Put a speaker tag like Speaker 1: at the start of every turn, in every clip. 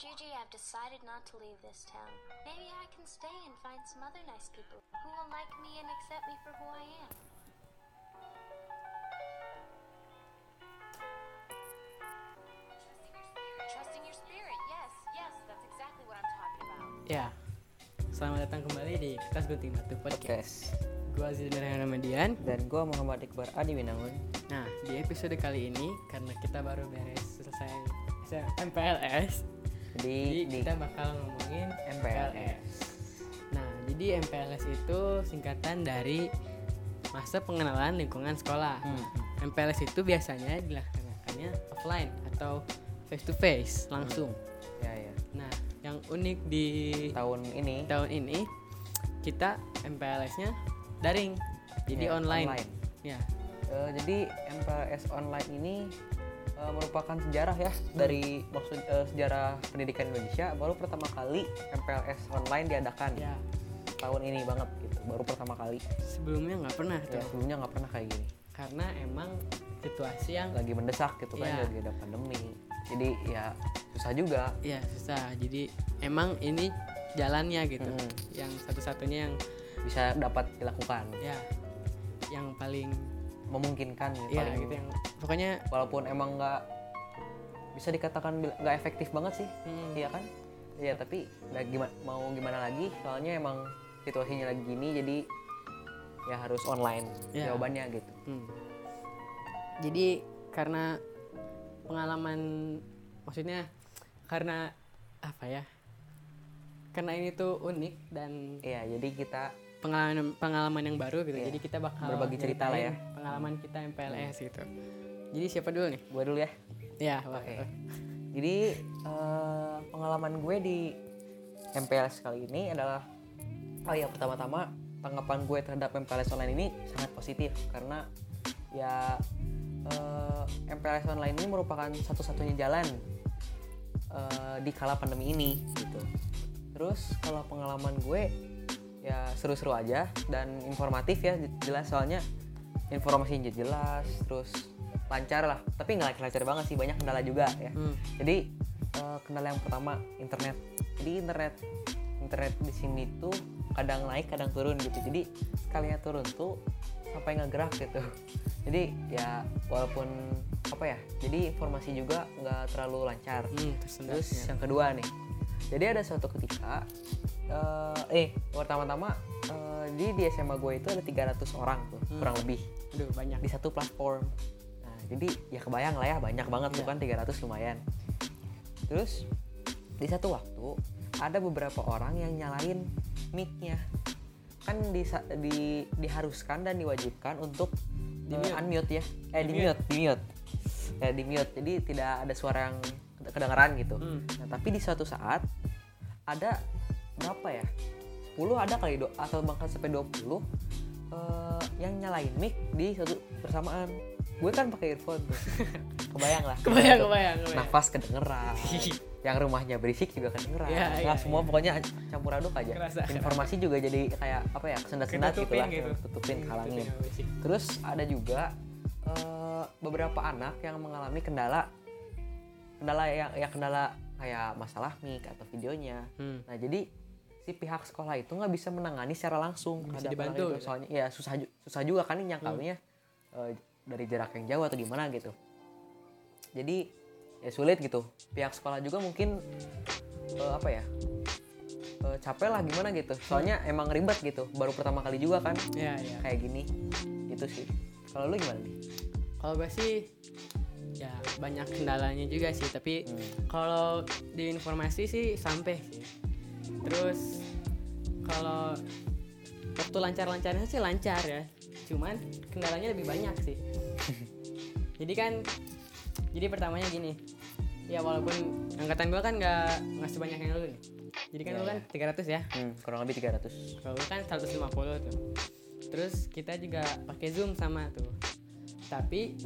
Speaker 1: Yuji, I've decided not to leave this town. Maybe I can stay and find some other nice people who will like me and accept me for who I am.
Speaker 2: Trusting your spirit. Yes, yes, that's exactly what I'm talking about.
Speaker 3: Ya, selamat datang kembali di Kertas Gunting Batu Podcast.
Speaker 4: Podcast
Speaker 3: Gue Aziz Darhan Ramadian.
Speaker 4: dan gue Muhammad Iqbar Adi Winangun
Speaker 3: Nah, di episode kali ini karena kita baru beres selesai se- MPLS,
Speaker 4: di,
Speaker 3: jadi
Speaker 4: di
Speaker 3: kita bakal ngomongin
Speaker 4: MPLS.
Speaker 3: MPLS. Nah, jadi MPLS itu singkatan dari masa pengenalan lingkungan sekolah.
Speaker 4: Hmm.
Speaker 3: MPLS itu biasanya dilaksanakannya offline atau face to face langsung.
Speaker 4: ya ya
Speaker 3: Nah, yang unik di
Speaker 4: tahun ini
Speaker 3: tahun ini kita MPLS-nya daring, jadi
Speaker 4: Ya,
Speaker 3: online.
Speaker 4: online.
Speaker 3: Ya,
Speaker 4: Eh, jadi MPLS online ini eh, merupakan sejarah ya dari maksud eh, sejarah pendidikan Indonesia baru pertama kali MPLS online diadakan
Speaker 3: ya
Speaker 4: tahun ini banget gitu baru pertama kali
Speaker 3: sebelumnya nggak pernah
Speaker 4: ya,
Speaker 3: tuh,
Speaker 4: sebelumnya nggak pernah kayak gini
Speaker 3: karena emang situasi yang
Speaker 4: lagi mendesak gitu kan
Speaker 3: Ya.
Speaker 4: lagi ada pandemi jadi ya susah juga
Speaker 3: ya susah. Jadi emang ini jalannya gitu,
Speaker 4: Mm.
Speaker 3: yang satu-satunya yang
Speaker 4: bisa dapat dilakukan
Speaker 3: ya yang paling
Speaker 4: memungkinkan gitu,
Speaker 3: ya
Speaker 4: paling-
Speaker 3: gitu yang pokoknya
Speaker 4: walaupun emang nggak bisa dikatakan bil- nggak efektif banget sih
Speaker 3: Hmm.
Speaker 4: iya kan iya tapi nggak gima- mau gimana lagi soalnya emang situasinya lagi gini jadi ya harus online
Speaker 3: Iya.
Speaker 4: jawabannya gitu
Speaker 3: Hmm. Jadi karena pengalaman maksudnya karena apa ya? Karena ini tuh unik dan
Speaker 4: iya jadi kita
Speaker 3: pengalaman pengalaman yang baru gitu.
Speaker 4: Iya.
Speaker 3: Jadi kita bakal
Speaker 4: Berbagi cerita lah ya.
Speaker 3: nyeritain Pengalaman kita MPLS gitu. Jadi siapa dulu nih?
Speaker 4: gue dulu ya
Speaker 3: Ya,
Speaker 4: Oke.
Speaker 3: oke.
Speaker 4: jadi eh, pengalaman gue di MPLS kali ini adalah oh ya pertama-tama tanggapan gue terhadap MPLS online ini sangat positif karena ya eh, MPLS online ini merupakan satu-satunya jalan eh, di kala pandemi ini gitu. Terus kalau pengalaman gue ya seru-seru aja dan informatif ya j- jelas soalnya informasinya jelas terus lancar lah tapi nggak lancar banget sih banyak kendala juga ya
Speaker 3: Hmm.
Speaker 4: jadi eh, kendala yang pertama internet jadi internet internet di sini tuh kadang naik kadang turun gitu jadi sekalinya turun tuh sampai ngegerak gitu jadi ya walaupun apa ya jadi informasi juga nggak terlalu lancar
Speaker 3: Hmm, tersendat.
Speaker 4: Terus
Speaker 3: Ya.
Speaker 4: yang kedua nih, jadi ada suatu ketika, eh eh, pertama-tama eh, di di SMA gue itu ada 300 orang tuh kurang lebih
Speaker 3: Aduh, banyak.
Speaker 4: di satu platform. Nah, jadi ya kebayang lah ya banyak banget
Speaker 3: Iya.
Speaker 4: tuh kan 300 lumayan. Terus di satu waktu ada beberapa orang yang nyalain mic-nya. Kan disa- di, diharuskan dan diwajibkan untuk
Speaker 3: Di
Speaker 4: eh,
Speaker 3: mute.
Speaker 4: unmute ya. Eh di, mute, di mute. Ya, di mute. Jadi tidak ada suara yang kedengaran gitu.
Speaker 3: Hmm.
Speaker 4: Nah, tapi di suatu saat ada berapa ya? 10 ada kali do, atau bahkan sampai 20 eh, yang nyalain mic di satu bersamaan. Gue kan pakai earphone tuh. Kebayang lah.
Speaker 3: Kebayang, kebayang, kebayang.
Speaker 4: Nafas kedengeran. yang rumahnya berisik juga kedengeran.
Speaker 3: Iya,
Speaker 4: Nah,
Speaker 3: iya,
Speaker 4: semua pokoknya campur aduk aja.
Speaker 3: Kerasa,
Speaker 4: Informasi juga jadi kayak apa ya? Kesendat-sendat gitu
Speaker 3: Ketutupin
Speaker 4: lah.
Speaker 3: gitu.
Speaker 4: Tutupin, halangin.
Speaker 3: Tutupin sama basic.
Speaker 4: Terus ada juga eh, beberapa anak yang mengalami kendala kendala yang ya kendala kayak masalah mic atau videonya.
Speaker 3: Hmm.
Speaker 4: Nah, jadi si pihak sekolah itu nggak bisa menangani secara langsung
Speaker 3: Bisa
Speaker 4: ada
Speaker 3: dibantu
Speaker 4: penanganan itu.
Speaker 3: gitu.
Speaker 4: soalnya ya susah ju- susah juga kan ini nyangkalnya
Speaker 3: Hmm.
Speaker 4: eh, dari jarak yang jauh atau gimana gitu. Jadi ya sulit gitu. Pihak sekolah juga mungkin eh, apa ya? eh, capek lah gimana gitu. Soalnya emang ribet gitu. Baru pertama kali juga kan
Speaker 3: Ya, ya.
Speaker 4: kayak gini gitu sih kalau lu gimana nih
Speaker 3: Kalau gue sih ya banyak kendalanya juga sih, tapi
Speaker 4: Hmm.
Speaker 3: kalau di informasi sih sampai sih. Terus kalau waktu lancar-lancarnya sih lancar ya, cuman kendalanya lebih banyak sih. jadi kan, jadi pertamanya gini, ya walaupun angkatan gue kan nggak nggak sebanyak yang lu nih. Jadi kan
Speaker 4: Iya,
Speaker 3: lu kan 300 ya,
Speaker 4: kurang lebih 300
Speaker 3: kalau gue kan 150 tuh terus kita juga pakai zoom sama tuh tapi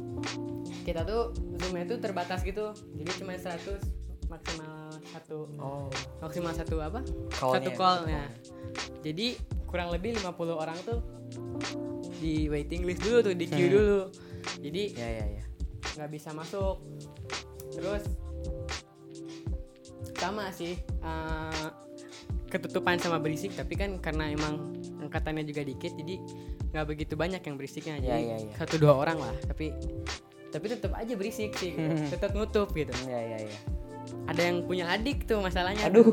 Speaker 3: kita tuh zoomnya tuh terbatas gitu jadi cuma 100 maksimal satu
Speaker 4: oh
Speaker 3: maksimal satu apa satu
Speaker 4: Call-nya, satu
Speaker 3: call ya jadi kurang lebih 50 orang tuh di waiting list dulu tuh di queue dulu jadi
Speaker 4: Iya, ya ya ya
Speaker 3: nggak bisa masuk terus sama sih eh, ketutupan sama berisik tapi kan karena emang angkatannya juga dikit jadi nggak begitu banyak yang berisiknya
Speaker 4: Ya,
Speaker 3: jadi
Speaker 4: ya, ya.
Speaker 3: satu dua orang lah tapi tapi tetap aja berisik sih
Speaker 4: Hmm.
Speaker 3: tetap nutup gitu
Speaker 4: ya ya ya
Speaker 3: ada yang punya adik tuh masalahnya
Speaker 4: aduh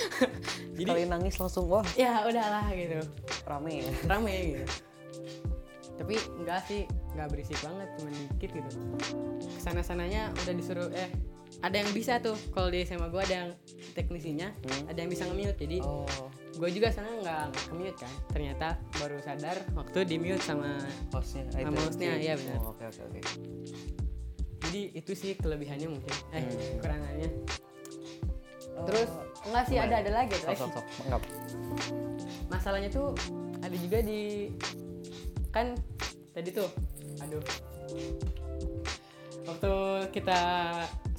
Speaker 3: jadi
Speaker 4: sekali nangis langsung wah
Speaker 3: ya udahlah gitu
Speaker 4: rame ya
Speaker 3: rame gitu tapi enggak sih enggak berisik banget cuma dikit gitu kesana sananya udah disuruh eh ada yang bisa tuh kalau di SMA gue ada yang teknisinya ada yang bisa nge-mute jadi
Speaker 4: oh
Speaker 3: gue juga sana nggak nge-mute kan ternyata baru sadar waktu di mute sama
Speaker 4: hostnya ah,
Speaker 3: Sama hostnya, iya, benar.
Speaker 4: Oh, oke oke oke
Speaker 3: jadi itu sih kelebihannya mungkin eh
Speaker 4: Hmm. Oh,
Speaker 3: kekurangannya terus enggak sih ada ada lagi ada
Speaker 4: sok
Speaker 3: lagi.
Speaker 4: sok sok enggak
Speaker 3: masalahnya tuh ada juga di kan tadi tuh aduh waktu kita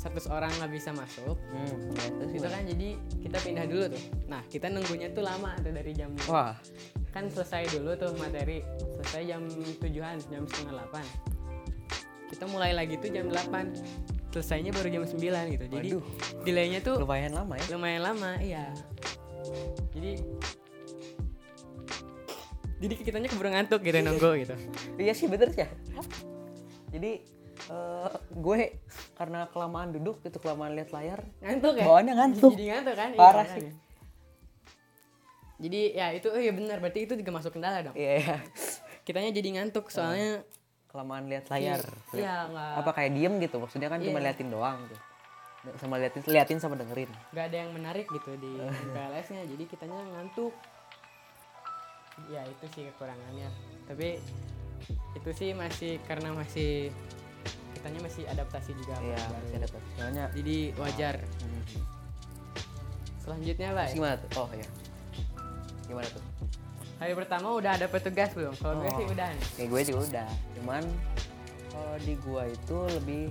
Speaker 3: satu orang nggak bisa masuk
Speaker 4: hmm, ya, terus
Speaker 3: itu
Speaker 4: gimana?
Speaker 3: kan jadi kita pindah dulu tuh nah kita nunggunya tuh lama tuh dari jam
Speaker 4: wah
Speaker 3: kan selesai dulu tuh materi selesai jam tujuan jam setengah delapan kita mulai lagi tuh jam delapan selesainya baru jam sembilan gitu jadi
Speaker 4: Waduh.
Speaker 3: delaynya tuh
Speaker 4: lumayan lama ya
Speaker 3: lumayan lama iya jadi jadi kitanya keburu ngantuk gitu nunggu gitu
Speaker 4: iya sih bener sih ya jadi eh, gue karena kelamaan duduk gitu kelamaan lihat layar
Speaker 3: ngantuk ya
Speaker 4: Bawaannya ngantuk.
Speaker 3: jadi ngantuk kan Iya,
Speaker 4: Parah
Speaker 3: makanya.
Speaker 4: sih.
Speaker 3: jadi ya itu oh iya benar berarti itu juga masuk kendala dong
Speaker 4: iya iya.
Speaker 3: kitanya jadi ngantuk soalnya
Speaker 4: kelamaan lihat layar
Speaker 3: iya nggak
Speaker 4: Eh, apa kayak diem gitu maksudnya kan cuma
Speaker 3: Iya.
Speaker 4: liatin doang tuh sama liatin liatin sama dengerin
Speaker 3: nggak ada yang menarik gitu di PLS-nya jadi kitanya ngantuk ya itu sih kekurangannya tapi itu sih masih karena masih kitanya masih adaptasi juga sama
Speaker 4: iya
Speaker 3: yang baru.
Speaker 4: masih ada tuh soalnya
Speaker 3: jadi wajar
Speaker 4: hmm.
Speaker 3: selanjutnya
Speaker 4: Terus
Speaker 3: baik
Speaker 4: gimana tuh oh iya gimana tuh
Speaker 3: hari pertama udah ada petugas belum kalau gue
Speaker 4: Oh.
Speaker 3: sih udah nih
Speaker 4: ya gue juga udah cuman eh, di gua itu lebih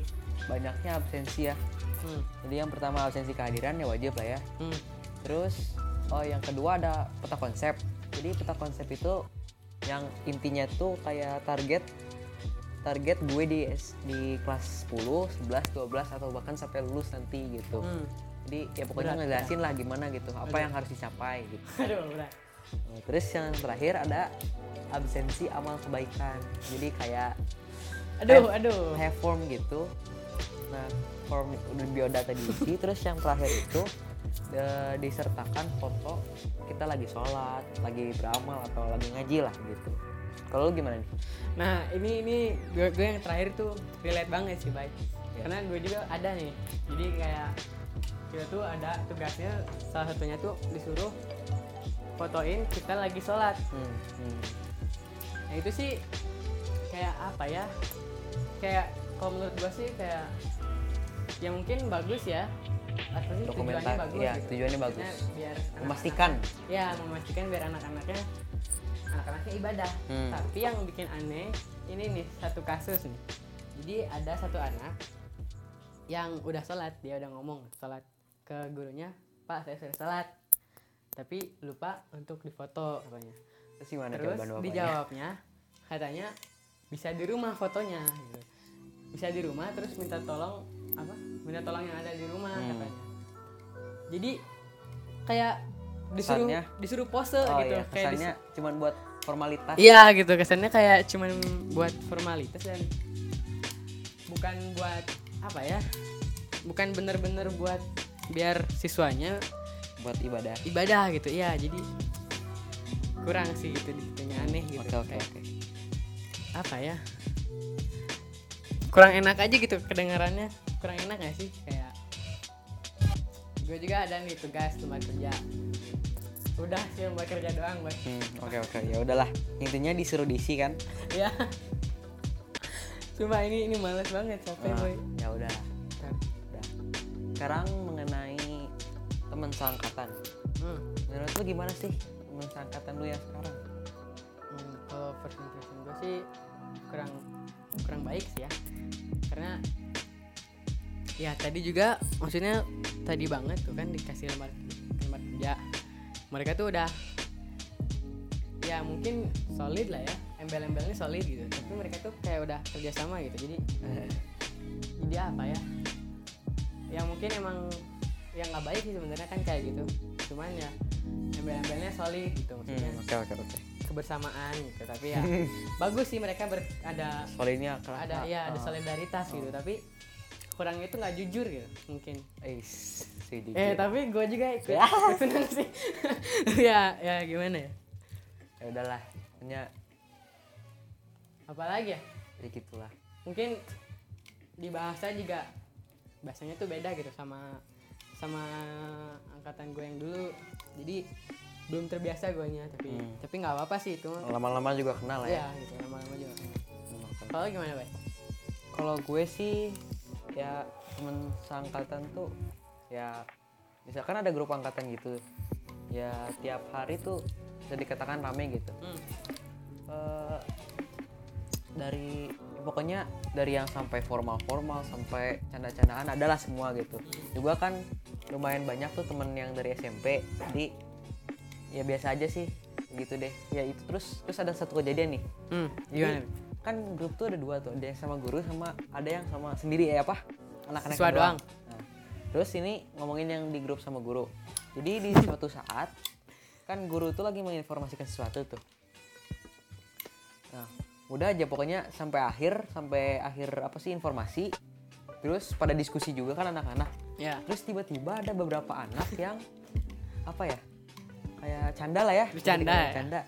Speaker 4: banyaknya absensi ya
Speaker 3: hmm.
Speaker 4: jadi yang pertama absensi kehadiran ya wajib lah ya
Speaker 3: Hmm.
Speaker 4: Terus oh yang kedua ada peta konsep. Jadi peta konsep itu yang intinya tuh kayak target target gue di S- di kelas 10, 11, 12 atau bahkan sampai lulus nanti gitu.
Speaker 3: Hmm.
Speaker 4: Jadi ya pokoknya
Speaker 3: Berat,
Speaker 4: ngejelasin lah gimana gitu, apa yang harus dicapai gitu.
Speaker 3: aduh berat
Speaker 4: Nah, Terus yang terakhir ada absensi amal kebaikan. Jadi kayak
Speaker 3: aduh
Speaker 4: Have-
Speaker 3: aduh
Speaker 4: have form gitu nah form udah biodata diisi terus yang terakhir itu eh, disertakan foto kita lagi sholat lagi beramal atau lagi ngaji lah gitu kalau lu gimana nih
Speaker 3: nah ini ini gue, gue yang terakhir tuh relate banget sih baik
Speaker 4: Iya.
Speaker 3: karena gue juga ada nih jadi kayak kita tuh ada tugasnya salah satunya tuh disuruh fotoin kita lagi sholat
Speaker 4: hmm, hmm.
Speaker 3: Nah itu sih kayak apa ya? Kayak kalau menurut gua sih kayak ya mungkin bagus ya. Apa sih
Speaker 4: Dokumenta-
Speaker 3: tujuannya bagus?
Speaker 4: iya,
Speaker 3: gitu.
Speaker 4: tujuannya bagus.
Speaker 3: Maksudnya Biar anak-anak-
Speaker 4: memastikan
Speaker 3: ya memastikan biar anak-anaknya anak-anaknya ibadah.
Speaker 4: Hmm.
Speaker 3: Tapi yang bikin aneh ini nih satu kasus nih. Jadi ada satu anak yang udah sholat dia udah ngomong sholat ke gurunya pak saya sudah sholat tapi lupa untuk difoto katanya
Speaker 4: terus gimana
Speaker 3: Terus
Speaker 4: jawaban bapaknya?
Speaker 3: dijawabnya katanya bisa di rumah fotonya gitu. Bisa di rumah terus minta tolong apa? Minta tolong yang ada di rumah
Speaker 4: Hmm.
Speaker 3: katanya. Jadi kayak disuruh
Speaker 4: Kesannya-
Speaker 3: disuruh pose
Speaker 4: oh
Speaker 3: gitu
Speaker 4: iya
Speaker 3: kayak dis-
Speaker 4: kesannya cuman buat formalitas
Speaker 3: Iya gitu kesannya kayak cuman buat formalitas dan bukan buat apa ya? Bukan bener-bener buat biar siswanya
Speaker 4: buat ibadah
Speaker 3: ibadah gitu. Iya, jadi kurang sih gitu ditanya aneh gitu.
Speaker 4: oke oke
Speaker 3: Kayak-
Speaker 4: oke
Speaker 3: apa ya kurang enak aja gitu kedengarannya kurang enak gak sih kayak gue juga ada nih tugas tempat kerja udah sih buat kerja doang buat
Speaker 4: Hmm, oke oke ya udahlah intinya disuruh diisi kan
Speaker 3: ya cuma ini ini males banget capek
Speaker 4: Nah,
Speaker 3: boy
Speaker 4: ya udah udah sekarang mengenai teman seangkatan
Speaker 3: hmm.
Speaker 4: Menurut lu gimana sih temen seangkatan lu yang sekarang?
Speaker 3: Hmm, kalau first impression gue sih kurang kurang baik sih ya karena ya tadi juga maksudnya tadi banget tuh kan dikasih lembar lembar kerja mereka tuh udah ya mungkin solid lah ya embel-embelnya solid gitu tapi mereka tuh kayak udah
Speaker 4: Eh,
Speaker 3: kerjasama gitu jadi jadi apa ya ya mungkin emang yang nggak baik sih sebenarnya kan kayak gitu cuman ya embel-embelnya solid gitu maksudnya
Speaker 4: oke oke oke
Speaker 3: kebersamaan gitu tapi ya bagus sih mereka ber, ada
Speaker 4: solidnya kelak eh,
Speaker 3: ada ya
Speaker 4: ah.
Speaker 3: ada solidaritas gitu tapi kurangnya itu nggak jujur gitu mungkin
Speaker 4: eh si DJ.
Speaker 3: eh tapi gue juga ikut ikut seneng sih ya ya gimana ya
Speaker 4: ya udahlah hanya
Speaker 3: apalagi ya
Speaker 4: ya gitulah
Speaker 3: mungkin di bahasa juga bahasanya tuh beda gitu sama sama angkatan gue yang dulu jadi belum terbiasa guanya tapi tapi nggak apa-apa sih itu mah.
Speaker 4: lama-lama juga kenal ya
Speaker 3: ya gitu lama-lama juga kalau gimana bay
Speaker 4: kalau gue sih ya temen seangkatan tuh ya misalkan ada grup angkatan gitu ya tiap hari tuh bisa dikatakan rame gitu
Speaker 3: Hmm.
Speaker 4: Eh, dari pokoknya dari yang sampai formal-formal sampai canda-candaan adalah semua gitu juga kan lumayan banyak tuh temen yang dari SMP jadi ya biasa aja sih gitu deh ya itu terus terus ada satu kejadian nih
Speaker 3: hmm,
Speaker 4: Jadi,
Speaker 3: gimana Bay?
Speaker 4: kan grup tuh ada dua tuh ada yang sama guru sama ada yang sama sendiri ya apa anak-anak
Speaker 3: Siswa doang.
Speaker 4: Nah, terus ini ngomongin yang di grup sama guru jadi di suatu saat kan guru tuh lagi menginformasikan sesuatu tuh nah udah aja pokoknya sampai akhir sampai akhir apa sih informasi terus pada diskusi juga kan anak-anak
Speaker 3: ya
Speaker 4: terus tiba-tiba ada beberapa anak yang apa ya kayak canda lah ya
Speaker 3: Bercanda ya?
Speaker 4: canda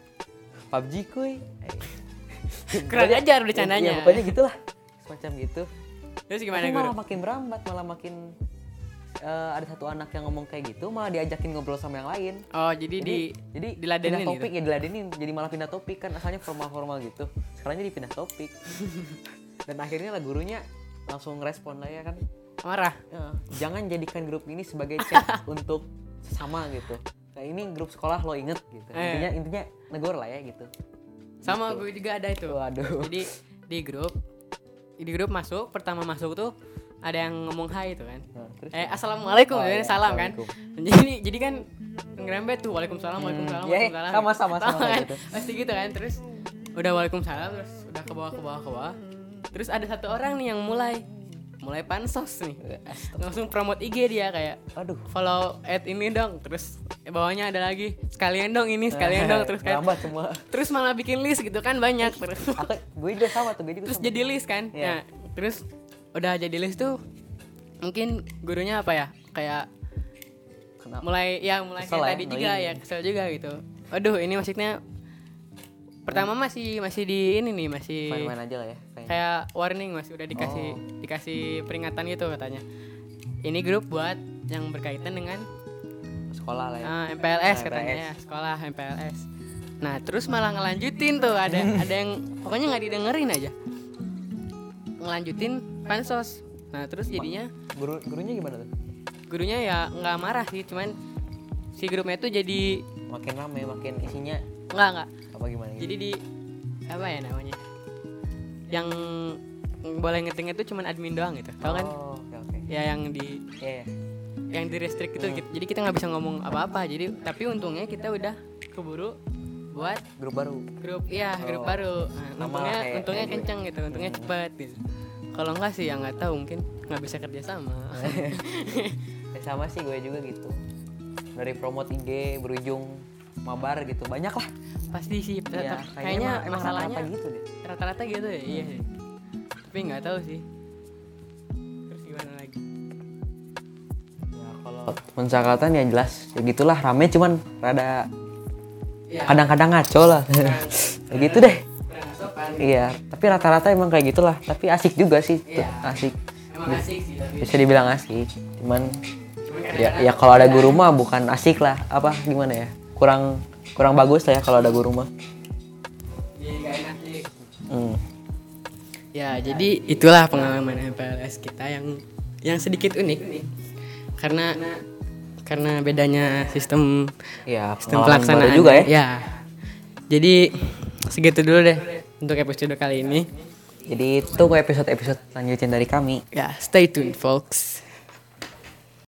Speaker 4: PUBG kuy
Speaker 3: Kurang ajar bercandanya.
Speaker 4: ya, pokoknya gitulah semacam gitu
Speaker 3: terus gimana
Speaker 4: Tapi
Speaker 3: guru
Speaker 4: malah makin berambat malah makin eh, ada satu anak yang ngomong kayak gitu malah diajakin ngobrol sama yang lain
Speaker 3: oh jadi, di
Speaker 4: jadi
Speaker 3: diladenin
Speaker 4: pindah topik
Speaker 3: gitu
Speaker 4: ya diladenin jadi malah pindah topik kan asalnya formal formal gitu sekarang jadi pindah topik dan akhirnya lah gurunya langsung respon lah ya kan
Speaker 3: marah
Speaker 4: Ya, jangan jadikan grup ini sebagai chat untuk sesama gitu. Nah ini grup sekolah lo inget gitu.
Speaker 3: Eh.
Speaker 4: Intinya intinya negor lah ya gitu.
Speaker 3: sama gue juga ada itu
Speaker 4: Waduh.
Speaker 3: jadi di grup di grup masuk pertama masuk tuh ada yang ngomong hai itu kan
Speaker 4: Nah, terus
Speaker 3: eh assalamualaikum oh,
Speaker 4: Oh, iya,
Speaker 3: salam kan jadi jadi kan ngerembet tuh waalaikumsalam waalaikumsalam
Speaker 4: iya, iya,
Speaker 3: waalaikumsalam
Speaker 4: sama, sama,
Speaker 3: Tau
Speaker 4: sama kayak
Speaker 3: kan?
Speaker 4: gitu.
Speaker 3: pasti gitu kan terus udah waalaikumsalam terus udah ke bawah ke bawah ke bawah terus ada satu orang nih yang mulai mulai pansos nih langsung promote IG dia kayak
Speaker 4: Aduh.
Speaker 3: follow at ini dong terus bawahnya ada lagi sekalian dong ini sekalian dong terus kayak
Speaker 4: Nambah semua.
Speaker 3: terus malah bikin list gitu kan banyak terus
Speaker 4: Aku, gue juga sama tuh. Gue juga
Speaker 3: terus
Speaker 4: sama.
Speaker 3: jadi list kan
Speaker 4: Iya.
Speaker 3: Nah, terus udah jadi list tuh mungkin gurunya apa ya kayak
Speaker 4: Kenapa?
Speaker 3: mulai ya mulai
Speaker 4: Kesel
Speaker 3: kayak
Speaker 4: ya,
Speaker 3: tadi
Speaker 4: mulai
Speaker 3: juga
Speaker 4: ini.
Speaker 3: ya kesel juga gitu aduh ini maksudnya pertama masih masih di ini nih masih
Speaker 4: Main-main aja lah ya. Kayaknya.
Speaker 3: kayak warning masih udah dikasih
Speaker 4: Oh.
Speaker 3: dikasih peringatan gitu katanya ini grup buat yang berkaitan dengan
Speaker 4: Sekolah lah ya.
Speaker 3: ah, MPLS
Speaker 4: MPLS.
Speaker 3: katanya ya, sekolah MPLS nah terus malah ngelanjutin tuh ada ada yang pokoknya nggak didengerin aja ngelanjutin pansos nah terus jadinya
Speaker 4: Guru gurunya gimana tuh?
Speaker 3: gurunya ya nggak marah sih cuman si grupnya tuh jadi
Speaker 4: Makin rame, makin isinya
Speaker 3: nggak nggak
Speaker 4: apa gimana? gitu?
Speaker 3: jadi di apa ya namanya yang boleh ngetingnya tuh cuman admin doang gitu tau kan
Speaker 4: Oh, oke oke.
Speaker 3: ya yang di
Speaker 4: Iya. iya.
Speaker 3: yang di restrict gitu, gitu. jadi kita nggak bisa ngomong apa-apa jadi tapi untungnya kita udah keburu buat
Speaker 4: Grup baru.
Speaker 3: grup iya grup baru Nah,
Speaker 4: Sama
Speaker 3: untungnya
Speaker 4: kayak-
Speaker 3: untungnya
Speaker 4: kayak gue.
Speaker 3: kenceng gitu untungnya cepet gitu kalau enggak sih ya nggak tahu mungkin nggak bisa kerja sama
Speaker 4: Ya, sama sih gue juga gitu. Dari promote IG berujung mabar gitu banyak lah.
Speaker 3: pasti sih
Speaker 4: Iya,
Speaker 3: tetap- kayaknya
Speaker 4: emang- emang
Speaker 3: masalahnya
Speaker 4: rata-rata gitu deh.
Speaker 3: rata-rata gitu ya iya sih. tapi nggak tahu sih terus gimana lagi
Speaker 4: Ya, kalau mensangkatan ya jelas ya gitulah rame cuman rada
Speaker 3: Ya.
Speaker 4: kadang-kadang ngaco lah ya gitu deh
Speaker 3: kurang sopan
Speaker 4: iya tapi rata-rata emang kayak gitulah tapi asik juga sih
Speaker 3: Iya.
Speaker 4: asik
Speaker 3: emang asik sih tapi
Speaker 4: bisa dibilang asik cuman
Speaker 3: cuman
Speaker 4: ya,
Speaker 3: kadang-kadang
Speaker 4: ya kalau ada guru mah bukan asik lah apa gimana ya kurang kurang bagus lah ya kalau ada guru mah
Speaker 3: jadi nggak enak sih.
Speaker 4: hmm.
Speaker 3: Ya, jadi itulah pengalaman MPLS kita yang yang sedikit unik. Karena karena bedanya sistem
Speaker 4: ya
Speaker 3: sistem
Speaker 4: pengalaman baru
Speaker 3: pelaksanaan
Speaker 4: juga ya
Speaker 3: Jadi segitu dulu deh untuk episode kali ini.
Speaker 4: jadi tunggu episode-episode lanjutin dari kami
Speaker 3: Ya, stay tuned folks.